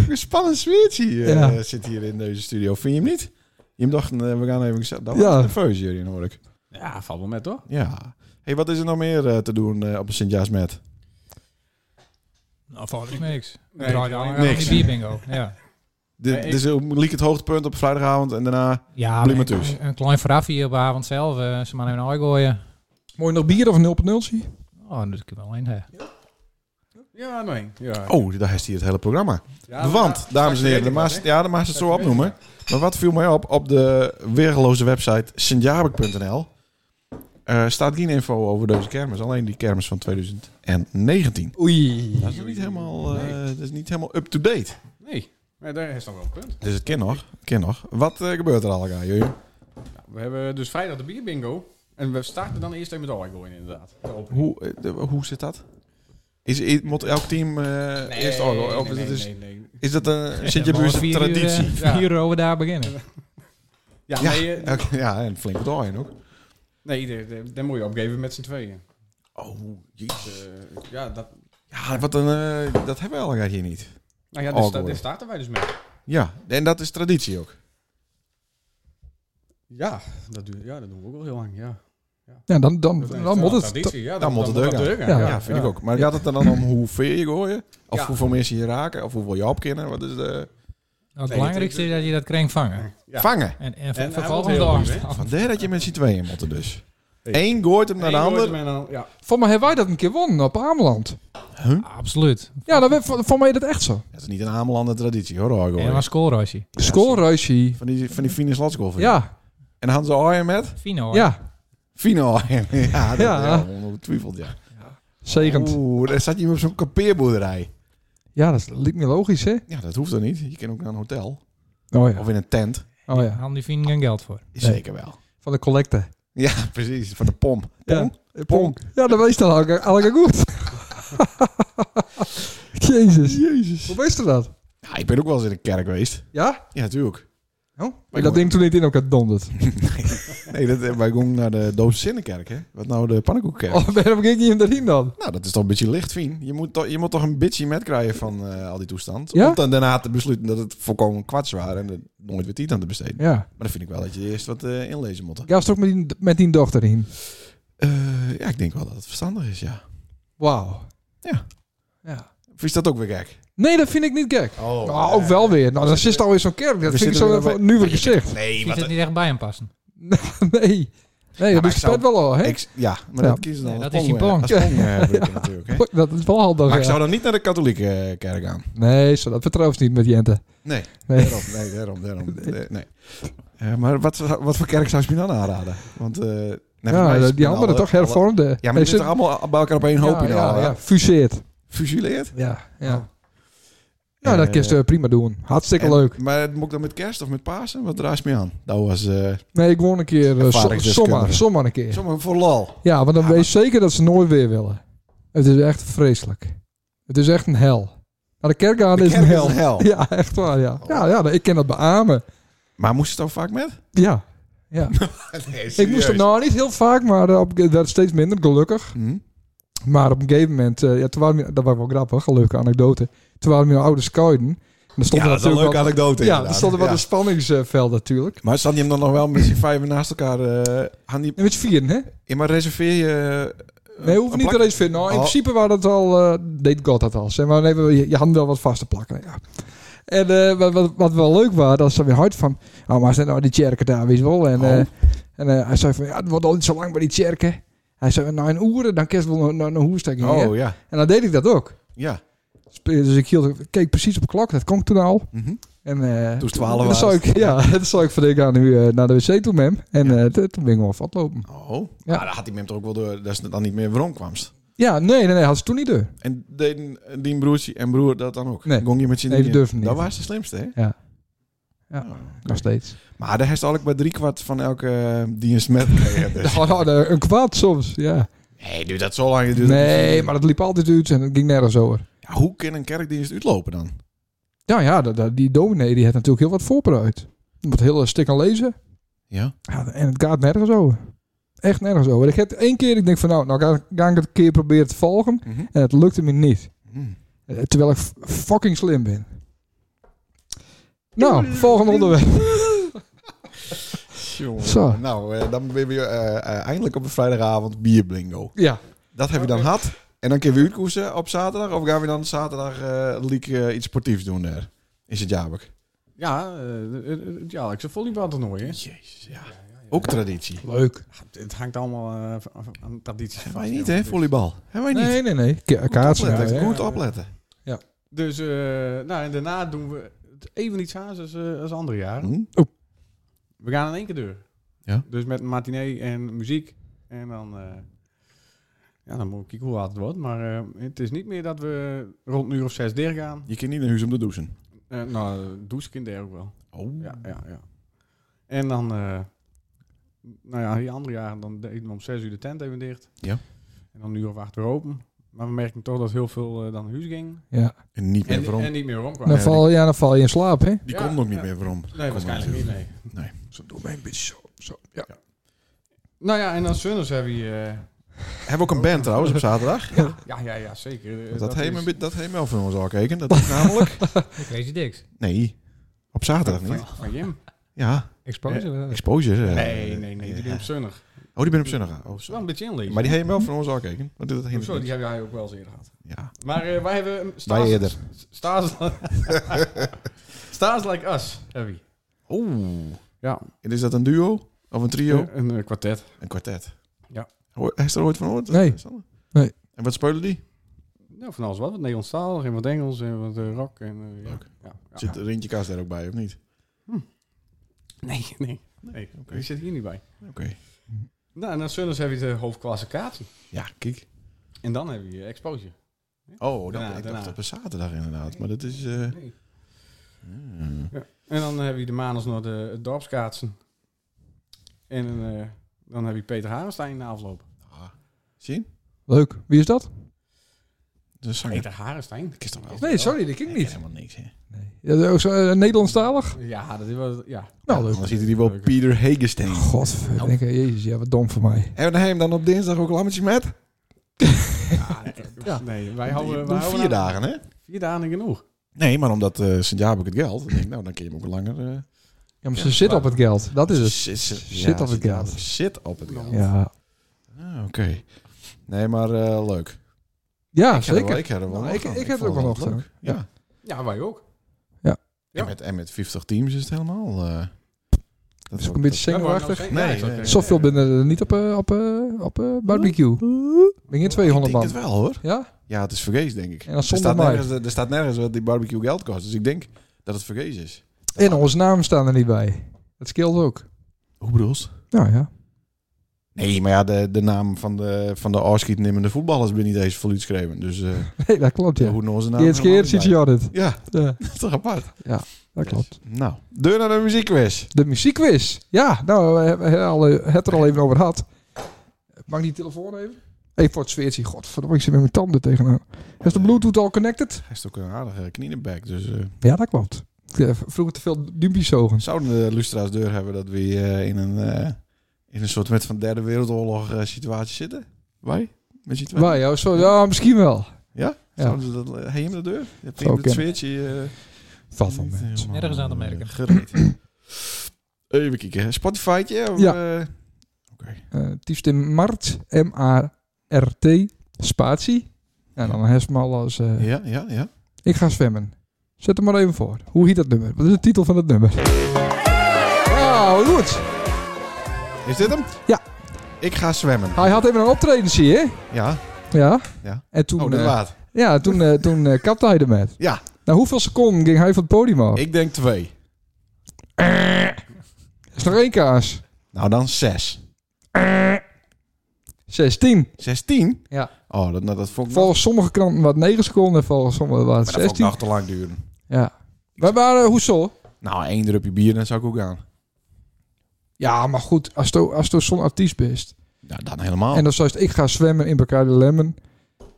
een spannend sfeertje eh, Ja. zit hier in deze studio. Vind je hem niet? Je dacht, eh, we gaan even... gezellig- Dat was Ja. nerveus, jullie, hoor ik. Ja, valt wel met, toch? Ja. hey, wat is er nog meer eh, te doen eh, op een Sint-Jaasmet? Nou, volgens mij niks. Nee, Draai ik- dan aan niks. die bierbingo. Ja, De- Nee, ik- Dus hoe liep het hoogtepunt op vrijdagavond en daarna... ja Blijf maar een, thuis. een, een klein verrafje op de avond zelf. eh, ze maar even een ooi gooien. Mooi nog bier of 0.0 zie? je? Oh, dat doe ik er wel in. hè. Ja, nee. Ja. Oh, daar is hier het hele programma. Ja, maar- Want, dames en heren, de straks maas, weet ik ja, de maas het zo opnoemen. Maar wat viel mij op op de weergeloze website sintjabek.nl eh, staat geen info over deze kermis. Alleen die kermis van 2019. Oei. Dat is niet helemaal, eh, dat is niet helemaal up-to-date. Nee, maar daar is dan wel een punt. Dus het kan nog. het kan nog. Wat eh, gebeurt er al, joh? Nou, we hebben dus vrijdag de bierbingo. En we starten dan eerst even met Oregon inderdaad. De opening. Hoe, eh, de- hoe zit dat? Is, i- moet elk team eh, eerst orgel? nee, Of nee, is, nee, nee. is dat een zit je Ja, maar buurt een vier uur, traditie? eh, Ja. Vier uur over daar beginnen. Ja, ja, nee, eh, elk- ja, en flink wat orgel ook. nee de- de- daar moet je opgeven met z'n tweeën. Oh, jezus. Dus, eh, ja, dat, Ja, wat een, eh, dat hebben we al hier niet. nou ja, Oh, daar sta- goeie. daar starten wij dus mee. Ja, en dat is traditie ook. Ja, dat, duurt, ja, dat doen we ook al heel lang, ja. Ja, dan, dan, Dat dan, is wel moet een het. traditie, ja, dan moet het dat ook, deuren, Ja. Ja, ja. vind ja. ik ook. Maar gaat het er dan om hoe ver je gooien? Of Ja. hoeveel mensen je raken? Of hoeveel je opkennen? Wat is de... Nou, Het Nee, belangrijkste het- is dat je dat kring vangen. Ja. Vangen. En, en, hij en wordt vervolgens heel de goed, afstand. Vandaar dat je met z'n tweeën moet dus. Hey. Eén gooit hem naar de Eén ander. wordt er met een- Ja, Voor mij hebben wij dat een keer gewonnen op Ameland. Huh? Absoluut. Ja, dan, werd- voor, voor mij is dat echt zo. Dat is niet een Amelander traditie hoor, orgel. En was scorehuisje. Scoreruisje. Van die, van die fine slotsgolf. Ja, En Hans Ooyen met? Fino. hoor. ja. Fine Ooyen. Ja, dat Ja. ja. ongetwijfeld, ja. Zegend. Oeh, daar zat je op zo'n kampeerboerderij. Ja, dat lijkt me logisch, hè? Ja, dat hoeft dan niet. Je kan ook naar een hotel. Oh ja. Of in een tent. Oh ja. Han die Fien geen geld voor. Is Zeker wel. Van de collecte. Ja, precies. Van de pom. Pom? Ja. Pong. Ja, dat wees dan al al goed. Jezus. Jezus. Hoe wist je dat? Ja, ik ben ook wel eens in een kerk geweest. Ja? Ja, natuurlijk. Oh, Maar maar dat ik- ding toen niet in elkaar donderd. Nee, dat, eh, wij gingen naar de Doodse Zinnenkerk, hè? Wat nou de pannenkoekkerk? Oh, waarom ging je hem erin dan? Nou, dat is toch een beetje licht, Fien. Je moet, toch- je moet toch een beetje metkrijgen van eh, al die toestand. Ja? Om dan daarna te besluiten dat het volkomen kwats waren en er nooit weer tijd aan te besteden. Ja. Maar dan vind ik wel dat je eerst wat eh, inlezen moet. Gast ook met die, met die dochter in. Eh, ja, ik denk wel dat het verstandig is, ja. Wauw. Ja. ja. Of is dat ook weer gek? Nee, dat vind ik niet gek. Oh, Nou, ook wel weer. Nou, dat zit alweer zo'n kerk. Dat We vind ik zitten zo er wel even nu weer gezicht. Nee, Die wat... zit een- niet echt bij hem passen. Nee. Nee, maar dat is ik zou- het wel al, hè? Ik, ja, maar Ja. dat kiezen dan Nee, als dat is die pong, eh, pong. als pong, eh, gebruiken natuurlijk, hè. Dat is wel handig. Maar ik ja. zou dan niet naar de katholieke eh, kerk gaan. Nee, zo, dat vertrouwt niet met Jente. Nee, Nee. daarom, nee, daarom, daarom. Nee. nee. Eh, maar wat, wat voor kerk zou je me dan aanraden? Want, eh, nee, voor mij ja, is die alle- andere toch alle- hervormde. Ja, Nee, maar die zitten allemaal bij elkaar op één hoop ja, in ja, al, hè? ja, fuseert. Fusileerd? Ja, Oh. ja. Nou, dat Eh, kun je prima doen. Hartstikke en- leuk. Maar het moet ik dan met kerst of met Pasen? Wat draait me aan? Dat was eh Nee, ik woon een keer. eh, so- Ervaringsdeskundige. Zomaar, zomaar een keer. zomaar voor lol. Ja, want dan Ja, weet je zeker dat ze nooit weer willen. Het is echt vreselijk. Het is echt een hel. Naar de kerk gaan De is kerk een hel. hel. Ja, echt waar, ja. Ja, ja, ik ken dat beamen. Maar moest je het ook vaak met? Ja. ja. Nee, Ik moest er nou niet heel vaak, maar eh, op, dat is steeds minder, gelukkig. Hm? Maar op een gegeven moment, eh, ja, toen waren we, dat was wel grappig, een leuke anekdote. Toen waren we mijn ouders kuiden. En dan Ja, stonden dat is een natuurlijk leuke wel, anekdote ja, er inderdaad. stonden wel Ja. een spanningsveld natuurlijk. Maar staan die hem dan nog wel met z'n vijven naast elkaar? eh, aan die... En met z'n vieren, hè? Ja, maar reserveer je... eh, Nee, een hoeft niet plak- te eens vinden. Nou, in Oh. principe was dat al, eh, deed God dat al. Zeg maar, nee, we- je, je handen wel wat vast te plakken. Ja. En eh, wat, wat, wat wel leuk was, dat ze weer hard van... Oh, maar zijn nou die tjerken daar, weet je wel. En, eh, Oh. en eh, hij zei van, ja, het wordt al niet zo lang bij die tjerken. Hij zei, nou een uren, dan kerst wel een, een hoersteking. Oh, ja. En dan deed ik dat ook. Ja. Sp- Dus ik hield, keek precies op de klok, dat kon ik toen al. Mhm. En, eh, Toen is 12 dan zou ik, Ja, dan zou ik van ik ga nu eh, naar de wc toe, mem. En eh, t- toen ben ik gewoon vastlopen. Oh, Ja. ja. dan had die mem toch ook wel door dat ze dan niet meer waarom kwamst. Ja, nee, nee, nee, had ze toen niet door. En deden die broertje en broer dat dan ook? Nee. Gong je met je Nee, die durfden niet. Dat was de slimste, hè? Ja. Ja. Oh. Nog steeds. Maar daar heeft eigenlijk bij driekwart van elke eh, dienst met gekregen, dus. Ja, nou, de- een kwaad soms, ja. Nee, duurt dat zo lang? Duurt dat Nee, niet. maar dat liep altijd uit en het ging nergens over. Ja, hoe kan een kerkdienst uitlopen dan? Ja, ja, dat- dat- die dominee die heeft natuurlijk heel wat voorbereid. Je moet heel stuk aan lezen. Ja. Ja, en het gaat nergens over. Echt nergens over. Ik heb één keer, ik denk van nou, nou ga, ga ik het een keer proberen te volgen. Mhm. En het lukte me niet. Hm. Eh, Terwijl ik f- fucking slim ben. Nou, volgende onderwerp. Tjonge. Zo. Nou, eh, dan ben je eh, eh, eindelijk op een vrijdagavond bierblingo. Ja, Dat heb je dan gehad. En dan kunnen we uitkoersen op zaterdag. Of gaan we dan zaterdag eh leak eh, iets sportiefs doen daar? Is het Jabek? Ja, eh, het- het jaarlijkse volleybaltoernooi, hè? Jezus, ja. Ook traditie. leuk. Het hangt allemaal eh, van- van- aan tradities Hebben wij vast, niet, joh. hè? Dus- Volleybal. Hebben wij niet. Nee, nee, nee. Ka- Kaatsen. Opletten, ja, ja. Goed opletten. Dus, eh, nou, en daarna doen we het even iets haast als, eh, als andere jaren. Hm? We gaan in één keer deur. Ja. Dus met een matinee en muziek. En dan, eh, ja, dan moet ik kijken hoe laat het wordt. Maar eh, het is niet meer dat we rond een uur of zes dicht gaan. Je kan niet naar huis om te douchen. Eh, nou, douche ik in de ook wel. Oh. Ja, ja, ja. En dan, eh, nou ja, die andere jaren, dan deden we om zes uur de tent even dicht. Ja. En dan een uur of acht weer open. Maar we merkten toch dat heel veel eh, dan naar huis ging. Ja. En niet meer En, waarom. en niet meer rondkwam. Dan, Nee, Nou, val, ja, dan val je in slaap, hè? Die Ja, komt nog niet ja. meer waarom. Nee, waarschijnlijk niet, nee. Zo doe mij een beetje zo. zo. Ja. Nou ja, en dan Sunners hebben we... eh, Hebben we ook een band trouwens op zaterdag? ja, ja, ja, zeker. Eh, Dat, dat, heeft is- me bi- dat heeft me wel van ons al gekeken. Dat is namelijk... Crazy Dicks. Nee, op zaterdag van, niet. van Jim. Ja, Exposure. wel. exposure. eh, Nee, nee, nee, die eh, doen op Sunner. Oh, die ben op zondag. Oh, Wel sorry. een beetje inlezen. Maar die heeft me wel van ons al gekeken. Want dat hindert Zo, niks. die heb jij ook wel eens eerder gehad. Ja, Maar eh, wij hebben... wij eerder. Stars, Stars Like Us, heb je. Oeh. Ja. En is dat een duo? Of een trio? Een eh, kwartet. Een kwartet? Ja. Hoor, heb je er ooit van gehoord? Nee. Sander? Nee. En wat spelen die? Nou, van alles wat. Wat Nederlandstalig en wat Engels en wat eh, rock. En, eh, ja. Leuk. Ja, ja. Zit Rintje Kaas daar ook bij, of niet? Nee, nee. nee oké. Die zit hier niet bij. Oké. Nou, en dan Sunners heb je de hoofdklassificatie. Ja, kijk. En dan heb je eh, Exposure. Oh, dat, Daarna, ik dacht daarna. op een zaterdag inderdaad. Maar dat is... eh, Nee. hmm. En dan heb je de maandags nog de het dorpskaatsen. En eh, dan heb je Peter Harenstein na afloop. Ah. Zie? Leuk. Wie is dat? De zanger. Peter Harenstein? Ik is toch wel... Nee, sorry, dat ging Hij kent niet. helemaal niks, hè? Nee. Ja, dat is ook zo, eh, Nederlandstalig? Ja, dat is wel... Ja. Nou, dan leuk. ziet hij die wel Pieter Hegestein. Godverdikke, Nou. jezus, ja, wat dom voor mij. En dan hem dan op dinsdag ook lammetjes met? ja. Nee, wij houden... Doe wij houden vier aan- dagen, hè? Vier dagen genoeg. Nee, maar omdat eh Sint-Jaap ook het geld. Dan denk ik, nou, dan kun je hem ook langer... eh, Ja, maar ze zit op het geld. Dat is het. Zit, zit- Zit op het zit- geld. Zit op het geld. Ja, Ah, Oké. Nee, maar eh, leuk. Ik ja heb er wel- Ah, zeker. Ik heb er wel Nou, nog ik- aan. ik heb er vond ook wel nog leuk. aan. Ja. Ja, wij ook. Ja. En, met, en met 50 teams is het helemaal... eh, Dat is ook een beetje zenuwachtig. Nee, Nee, nee, nee. Zoveel binnen er niet op, eh, op, eh, op eh, barbecue. Ben je in 200 Ik denk man. het wel, hoor. Ja? Ja, het is vergees, denk ik. En dan er, zonder staat mij. nergens, er staat nergens wat die barbecue geld kost. Dus ik denk dat het vergees is. En onze namen staan er niet bij. Dat scheelt ook. Hoe bedoel Nou ja. Nee, maar ja, de, de naam van de, van de afschietnemende voetballers ben niet eens voluut geschreven. Dus eh Nee, dat klopt, ja. hoe noemen ze naam? Eerste keer ziet je dit. Ja, Ja, dat is toch apart. dat klopt. Nou, deur naar de muziekquiz. De muziekquiz. Ja, nou, we hebben het al, eh, het er al even over gehad. Mag ik die telefoon even? Even voor het sfeertje. Godverdomme, ik zit met mijn tanden tegenaan. Is de bluetooth al connected? Hij is ook een aardige knieënbek. Dus eh, Ja, dat klopt. Ik, eh, Vroeger te veel duimpjes zogen. zouden de lustra's deur hebben dat we eh, in, een, eh, in een soort met van derde wereldoorlog eh, situatie zitten? Wij? Met z'n tweeën? Waar, joh? Zo, ja, misschien wel. Ja? Ja. Zouden ze dat... Heb je hem de deur? Heb je Zou hem het kunnen. zweertje... eh, Valt van niet me. helemaal, Nergens aan te eh, merken. gereed? Even kijken. Spotify'tje? of, Ja. eh, Oké. Eh, het liefst in maart, M-A-R-T, spatie. En dan hesmal als... eh, Ja, ja, ja. Ik ga zwemmen. Zet hem maar even voor. Hoe heet dat nummer? Wat is de titel van het nummer? Nou, goed. Is dit hem? Ja. Ik ga zwemmen. Hij had even een optreden, zie je? Ja. Ja. Ja. En toen, oh, dat eh, laat. ja, toen, eh, toen eh, kapte hij ermee. Ja. Nou, hoeveel seconden ging hij van het podium af? Ik denk twee. Is nog één kaas. Nou, dan zes. 16. Zestien? Ja. Oh, dat, nou, dat vond ik nog- Volgens sommige kranten wat 9 seconden, volgens sommige wat maar dat vond ik 16. nog te lang duren. Ja. We waren hoezo? Nou, één drupje bier, dan zou ik ook aan. Ja, maar goed, als je als je zo'n artiest bent. Ja, dan helemaal. En dan zoals ik ga zwemmen in Bacardi Lemon.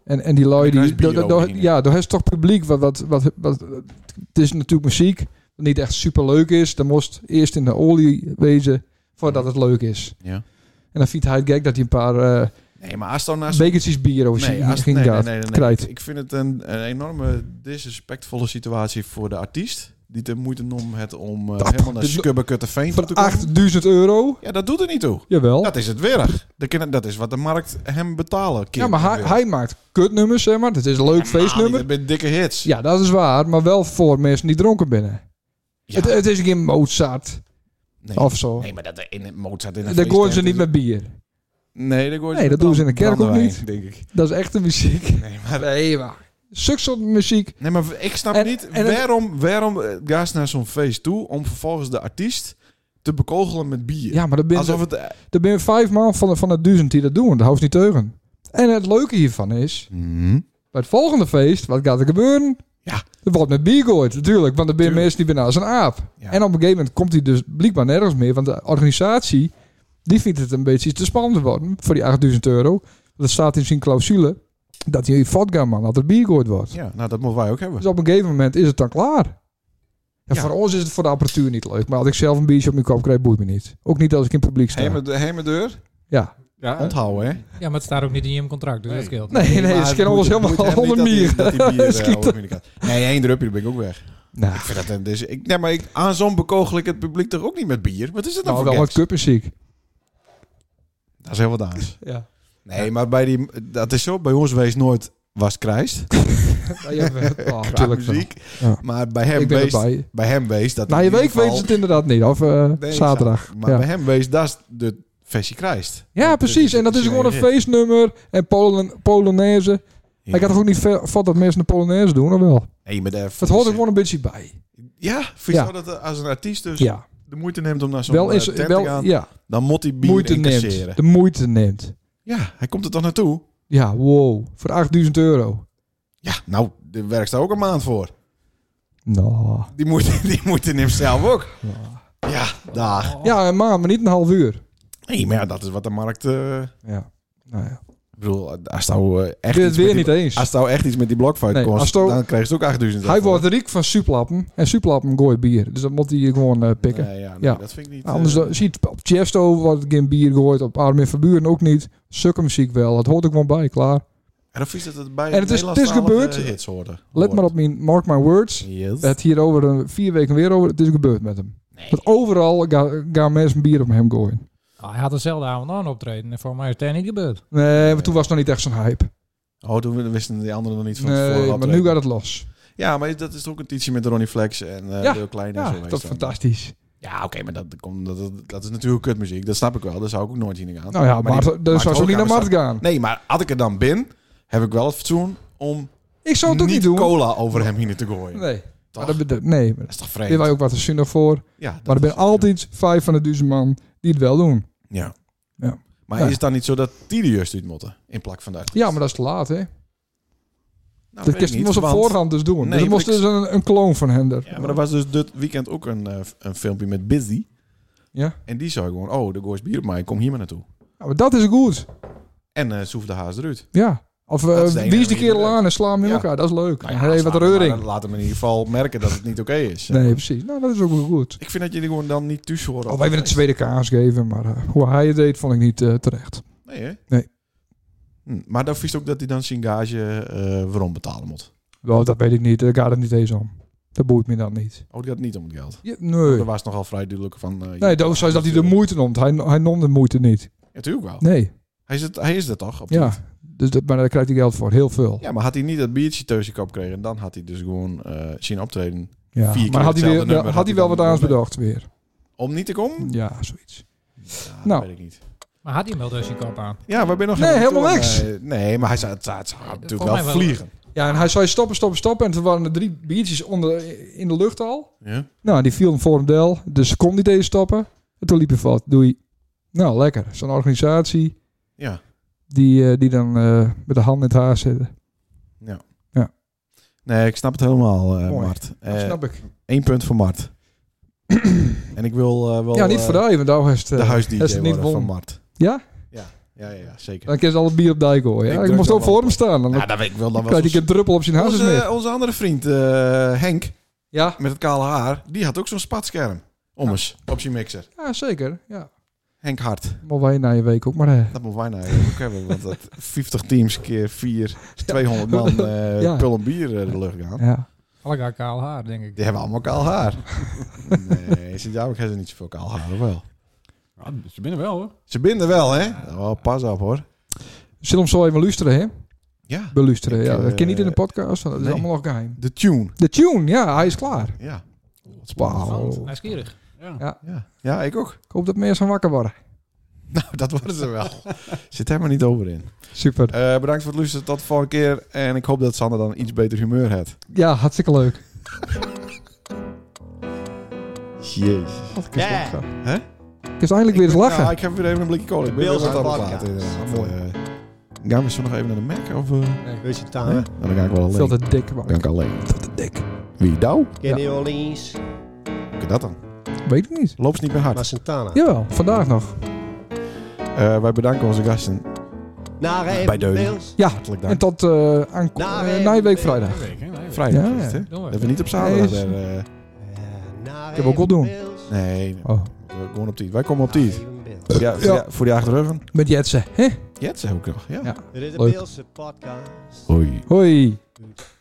En, en die lui Dan die... krijg je bier door- door- door- ook in, hè? ja, daar is toch publiek wat, wat, wat, wat... Het is natuurlijk muziek wat niet echt super leuk is. Dan moest eerst in de olie wezen voordat het leuk is. Ja. En dan vindt hij het gek dat hij een paar eh, Nee, maar als dan naast... bekertjes bier over Nee, zijn als, ging nee, nee, nee, gaat, nee, nee. krijgt. Ik vind het een, een enorme disrespectvolle situatie voor de artiest. Die de moeite nam het om eh, Dat- helemaal naar dit- Skubberkuttenveen toe Voor te komen. 8000 euro? Ja, dat doet er niet toe. Jawel. Dat is het weer. Dat kan- Dat is wat de markt hem betalen. keer ja, maar per hij, weer. hij maakt kutnummers, zeg maar. Het is een leuk feestnummer. Ah, Met dikke hits. Ja, dat is waar. Maar wel voor mensen die dronken binnen. Ja. Het, het is geen Mozart nee. of zo. Nee, maar dat in Mozart in een Daar gooien ze feesttent niet is- met bier. Nee, dat, gooien Nee, dat doen ze in de brand- kerk ook brandewijn, denk ik. Dat is echte muziek. Nee, maar, Nee, maar. Succesvolle muziek. nee, maar ik snap En- niet en het- waarom, waarom eh, ga ze naar zo'n feest toe om vervolgens de artiest te bekogelen met bier. Ja, maar dat ben, Alsof het... eh, dat ben vijf man van de, van de duizend die dat doen. Dat hoeft niet teugen. En het leuke hiervan is, mhm. bij het volgende feest, wat gaat er gebeuren? Ja. Er wordt met bier gegooid, natuurlijk. Want er zijn mensen die bijna als een aap. Ja. En op een gegeven moment komt hij dus blijkbaar nergens meer. Want de organisatie, die vindt het een beetje te spannend worden voor die 8000 euro. Want het staat in zijn clausule dat hij vodka man dat er bier gegooid wordt. ja, nou dat moeten wij ook hebben. Dus op een gegeven moment is het dan klaar. En Ja. voor ons is het voor de apparatuur niet leuk. Maar als ik zelf een biertje op mijn kop krijg, boeit me niet. Ook niet als ik in het publiek sta. Heen met de- heen met de deur. Ja. Ja, Onthouden, hè? Ja, maar het staat ook niet in je contract, dus Nee. dat scheelt. Nee, nee, Maar ze het kennen moet- ons moet helemaal hem niet onder mieren. Dat die, dat die bier, eh, Schiet onder mieren kan. Nee, één drupje, dan ben ik ook weg. Nou, Ik vind dat, dus, ik, nee, maar ik, aan zo'n bekogel ik het publiek toch ook niet met bier? Wat is dat dan nou voor wel wat geks? cupmuziek. Dat is heel wat anders. Ja. Nee, maar bij die, dat is zo. Bij ons wees nooit was krijst. ja, oh, Qua natuurlijk wel. muziek. Ja. Maar bij hem, Ik ben wees, erbij. bij hem wees dat... Na in je ieder week geval- weten ze het inderdaad niet. Of eh, Nee, zaterdag. Maar ja. bij hem wees dat de versie krijst. ja, Dat precies. En dat is gewoon een Ja. feestnummer. En Polen, Polonaise. Ik had toch ook niet ve- vat dat mensen een Polonaise doen, of wel? Nee, maar daar- Het hoort er gewoon een beetje bij. Ja, vind je Ja. zo dat eh, als een artiest dus Ja, de moeite neemt om naar zo'n wel wel is tent te wel, gaan, ja, dan moet hij bier moeite incasseren. neemt. De moeite neemt. Ja, hij komt er toch naartoe? Ja, wow. Voor 8000 euro. Ja, nou, de werkt daar ook een maand voor. Nou. Die moet, die moet in hemzelf ook. Ja. Ja, daar. Ja, een maand, maar niet een half uur. Nee, maar ja, dat is wat de markt... eh, Ja. Nou ja. ik bedoel, als nou eh, echt Dit iets weer met niet die, eens. Als nou echt iets met die blokfout Nee, kost, als het ook- dan krijg je het ook 8000 Hij ervoor. wordt riek van suplappen. En suplappen gooit bier. Dus dat moet hij gewoon eh, pikken. Nee, ja, nee, Ja. dat vind ik niet... Nou, anders eh, dan- ziet op Chesto wordt geen bier gegooid. Op Armin Verburen ook niet. Sukkermuziek wel. Dat hoort ook gewoon bij. Klaar. En of is dat het bij En het is- het is Nederlandstalige gebeurd. hits horen? Let maar op mijn mark my words. Yes. Het hier over een, vier weken weer over. Het is gebeurd met hem. Nee. Want overal ga- gaan mensen bier op hem gooien. Nou, hij had dezelfde avond aan optreden en voor mij is het daar niet gebeurd. Nee, maar toen was het nog niet echt zo'n hype. Oh, toen wisten die anderen nog niet van tevoren Nee, wat maar er- nu gaat het los. Ja, maar dat is toch ook een tietje met Ronnie Flex en eh Ja, Leo Klein en Ja, zo. dat meestal. is fantastisch. Ja, oké, maar dat, komt, dat, dat, dat is natuurlijk kutmuziek. Dat snap ik wel. Daar zou ik ook nooit heen gaan. Nou ja, Maar maar, die dan maakt zou ze ook niet naar aan de Mart gaan. Nee, maar had ik er dan bin, heb ik wel het fatsoen om Ik zou het ook niet niet, doen. cola over hem heen te gooien. Nee. Toch? Maar dat, bedo- nee, maar Dat is toch daar ben vreemd? wij ook wat te zinnig voor. Ja, dat maar er is- zijn altijd vijf van de duizend man die het wel doen. Ja. Ja. Maar Ja. is het dan niet zo dat die de juist uit moeten in plak van dat? Ja, maar dat is te laat, hè? dat Nou, weet ik kist niet, moest op want- voorhand dus doen. Nee, dus er want moest ik- dus een, een kloon van hem er. Ja, maar er was dus dit weekend ook een, eh, een filmpje met Busy. Ja. En die zou gewoon, oh, de goois bier op mij, kom hier maar naartoe. Ja, maar dat is goed. En eh soef de haas eruit. Ja. Of eh, Dat is de enige wie is die manier kerel dat- aan en sla hem in Ja. elkaar. Dat is leuk. Nou Hij ja, heeft wat slaat hem reuring. maar. Laat hem in ieder geval merken dat het niet oké is. Nee, precies. Nou, dat is ook wel goed. Ik vind dat jullie gewoon dan niet thuis horen. Al wij willen een tweede kaas geven, maar eh, hoe hij het deed, vond ik niet eh, terecht. Nee, hè? Nee. Hm, maar dan vies ook dat hij dan zijn gage eh waarom betalen moet. Wel, dat weet ik niet. Daar gaat het niet eens om. Dat boeit me dan niet. Oh, het gaat niet om het geld. Ja, Daar nee. was het nogal vrij duidelijk van... eh, Nee, dat was dat hij de moeite noemt. Hij, hij nam de moeite niet. Ja, natuurlijk wel. Nee. Hij, is het, hij is dat toch? Op Ja. dit? Dus dat, maar daar krijgt hij geld voor. Heel veel. ja, maar had hij niet dat biertje thuis je kop gekregen... dan had hij dus gewoon eh zien optreden Ja. Vier keer Maar had hij, hetzelfde weer, had nummer, had hij hij wel dan wat aans wel mee. bedacht weer. om niet te komen. Ja, zoiets. Ja, dat Nou. weet ik niet. Maar had hij hem wel dus je kop aan? Ja, waar ben je nog Nee, naartoe? helemaal niks. Nee, nee, maar hij zou, het zou- het zou natuurlijk Volgens wel mij wel. vliegen. Ja, en hij zei stoppen, stoppen, stoppen. En toen waren er drie biertjes onder, in de lucht al. Ja? Nou, die viel hem voor een del. Dus ze kon niet eens stoppen. En toen liep hij vast. Doei. Nou, lekker. Zo'n organisatie Ja. die, eh, die dan eh, met de hand in het haar zitten. Nee, ik snap het helemaal, eh Mooi. Mart. Dat Eh, snap ik. Eén punt voor Mart. en ik wil eh, wel... ja, niet eh, voor jou, want daar is het, eh, de huis is het DJ niet worden van won. Mart. Ja? Ja, ja, ja, ja, zeker. Dan kun je ze alle bier op dijk gooien. Ik Ja? Ik druk moest dan ook wel voor op. hem staan. Dan Ja, dat weet ik wel dan wel. krijgt hij zo'n- een druppel op zijn hazes onze, mee. onze andere vriend eh, Henk Ja. met het kale haar, die had ook zo'n spatscherm. Om eens op zijn mixer. ja, zeker. Ja. Henk Hart. Maar wij na je week ook maar. eh, Dat moet wij nou eigenlijk ook hebben. Want dat 50 teams keer 4, 200 man eh Ja. pul en bier eh, de lucht gaan. Ja. Alga kaal haar, denk ik. Die hebben allemaal kaal haar. nee, sint jou hebben ze niet zoveel kaal haar, of wel? Ja, ze binnen wel hoor. Ze binden wel, hè? Oh, pas op, hoor. Zullen we hem zo even luisteren, hè? Ja, Beluisteren, Ik, ja. Dat eh, kan niet in de podcast, want dat is nee. allemaal nog geheim. de tune. De tune, ja, hij is klaar. Ja. Oh. Wauw. Hij is gierig. Ja. Ja. ja, ik ook. Ik hoop dat mensen wakker worden. Nou, dat worden ze wel. Zit helemaal niet over in. Super. Eh, bedankt voor het luisteren tot de volgende keer. En ik hoop dat Sander dan iets beter humeur heeft. Ja, hartstikke leuk. Jezus. Wat kan je Ja. lachen? Hè? Ik is eindelijk weer eens lachen. Ja, ik heb weer even een blikje kool. Ik ben Bills weer wat aan het podcast. praten, inderdaad. Mooi. Eh, Gaan we zo nog even naar de Mac? Of, eh? Beetje nee? taal. Nou, dan ga ik wel Veel alleen. te dik, man. Dan ga ik alleen. Veel te dik. Wie nou? Kenny Orleans. Hoe kan dat dan? Weet ik niet. Loopt ze niet meer hard. Maar Santana. Jawel, vandaag nog. Eh, wij bedanken onze gasten. Naar even Bij Deun. Bills. Hartelijk En dank. tot eh aanko- Naar eh, even Nijweek Bills. vrijdag. Week, hè? Nee, Vrijdag Ja, is het, hè? Doen we. Dat we niet op zaterdag Nee, is- weer, eh, Eh, naar Ik heb ook wel even doen. Bills. Nee, nee. Oh, we gewoon op tijd. Wij komen op Naar tijd. even Bills. Voor die, voor die, voor die achterruggen. met Jetsen. hè? Jets ook nog, ja. Ja. Dit is de Leuk. Beelse podcast. Oei. Hoi. Goed.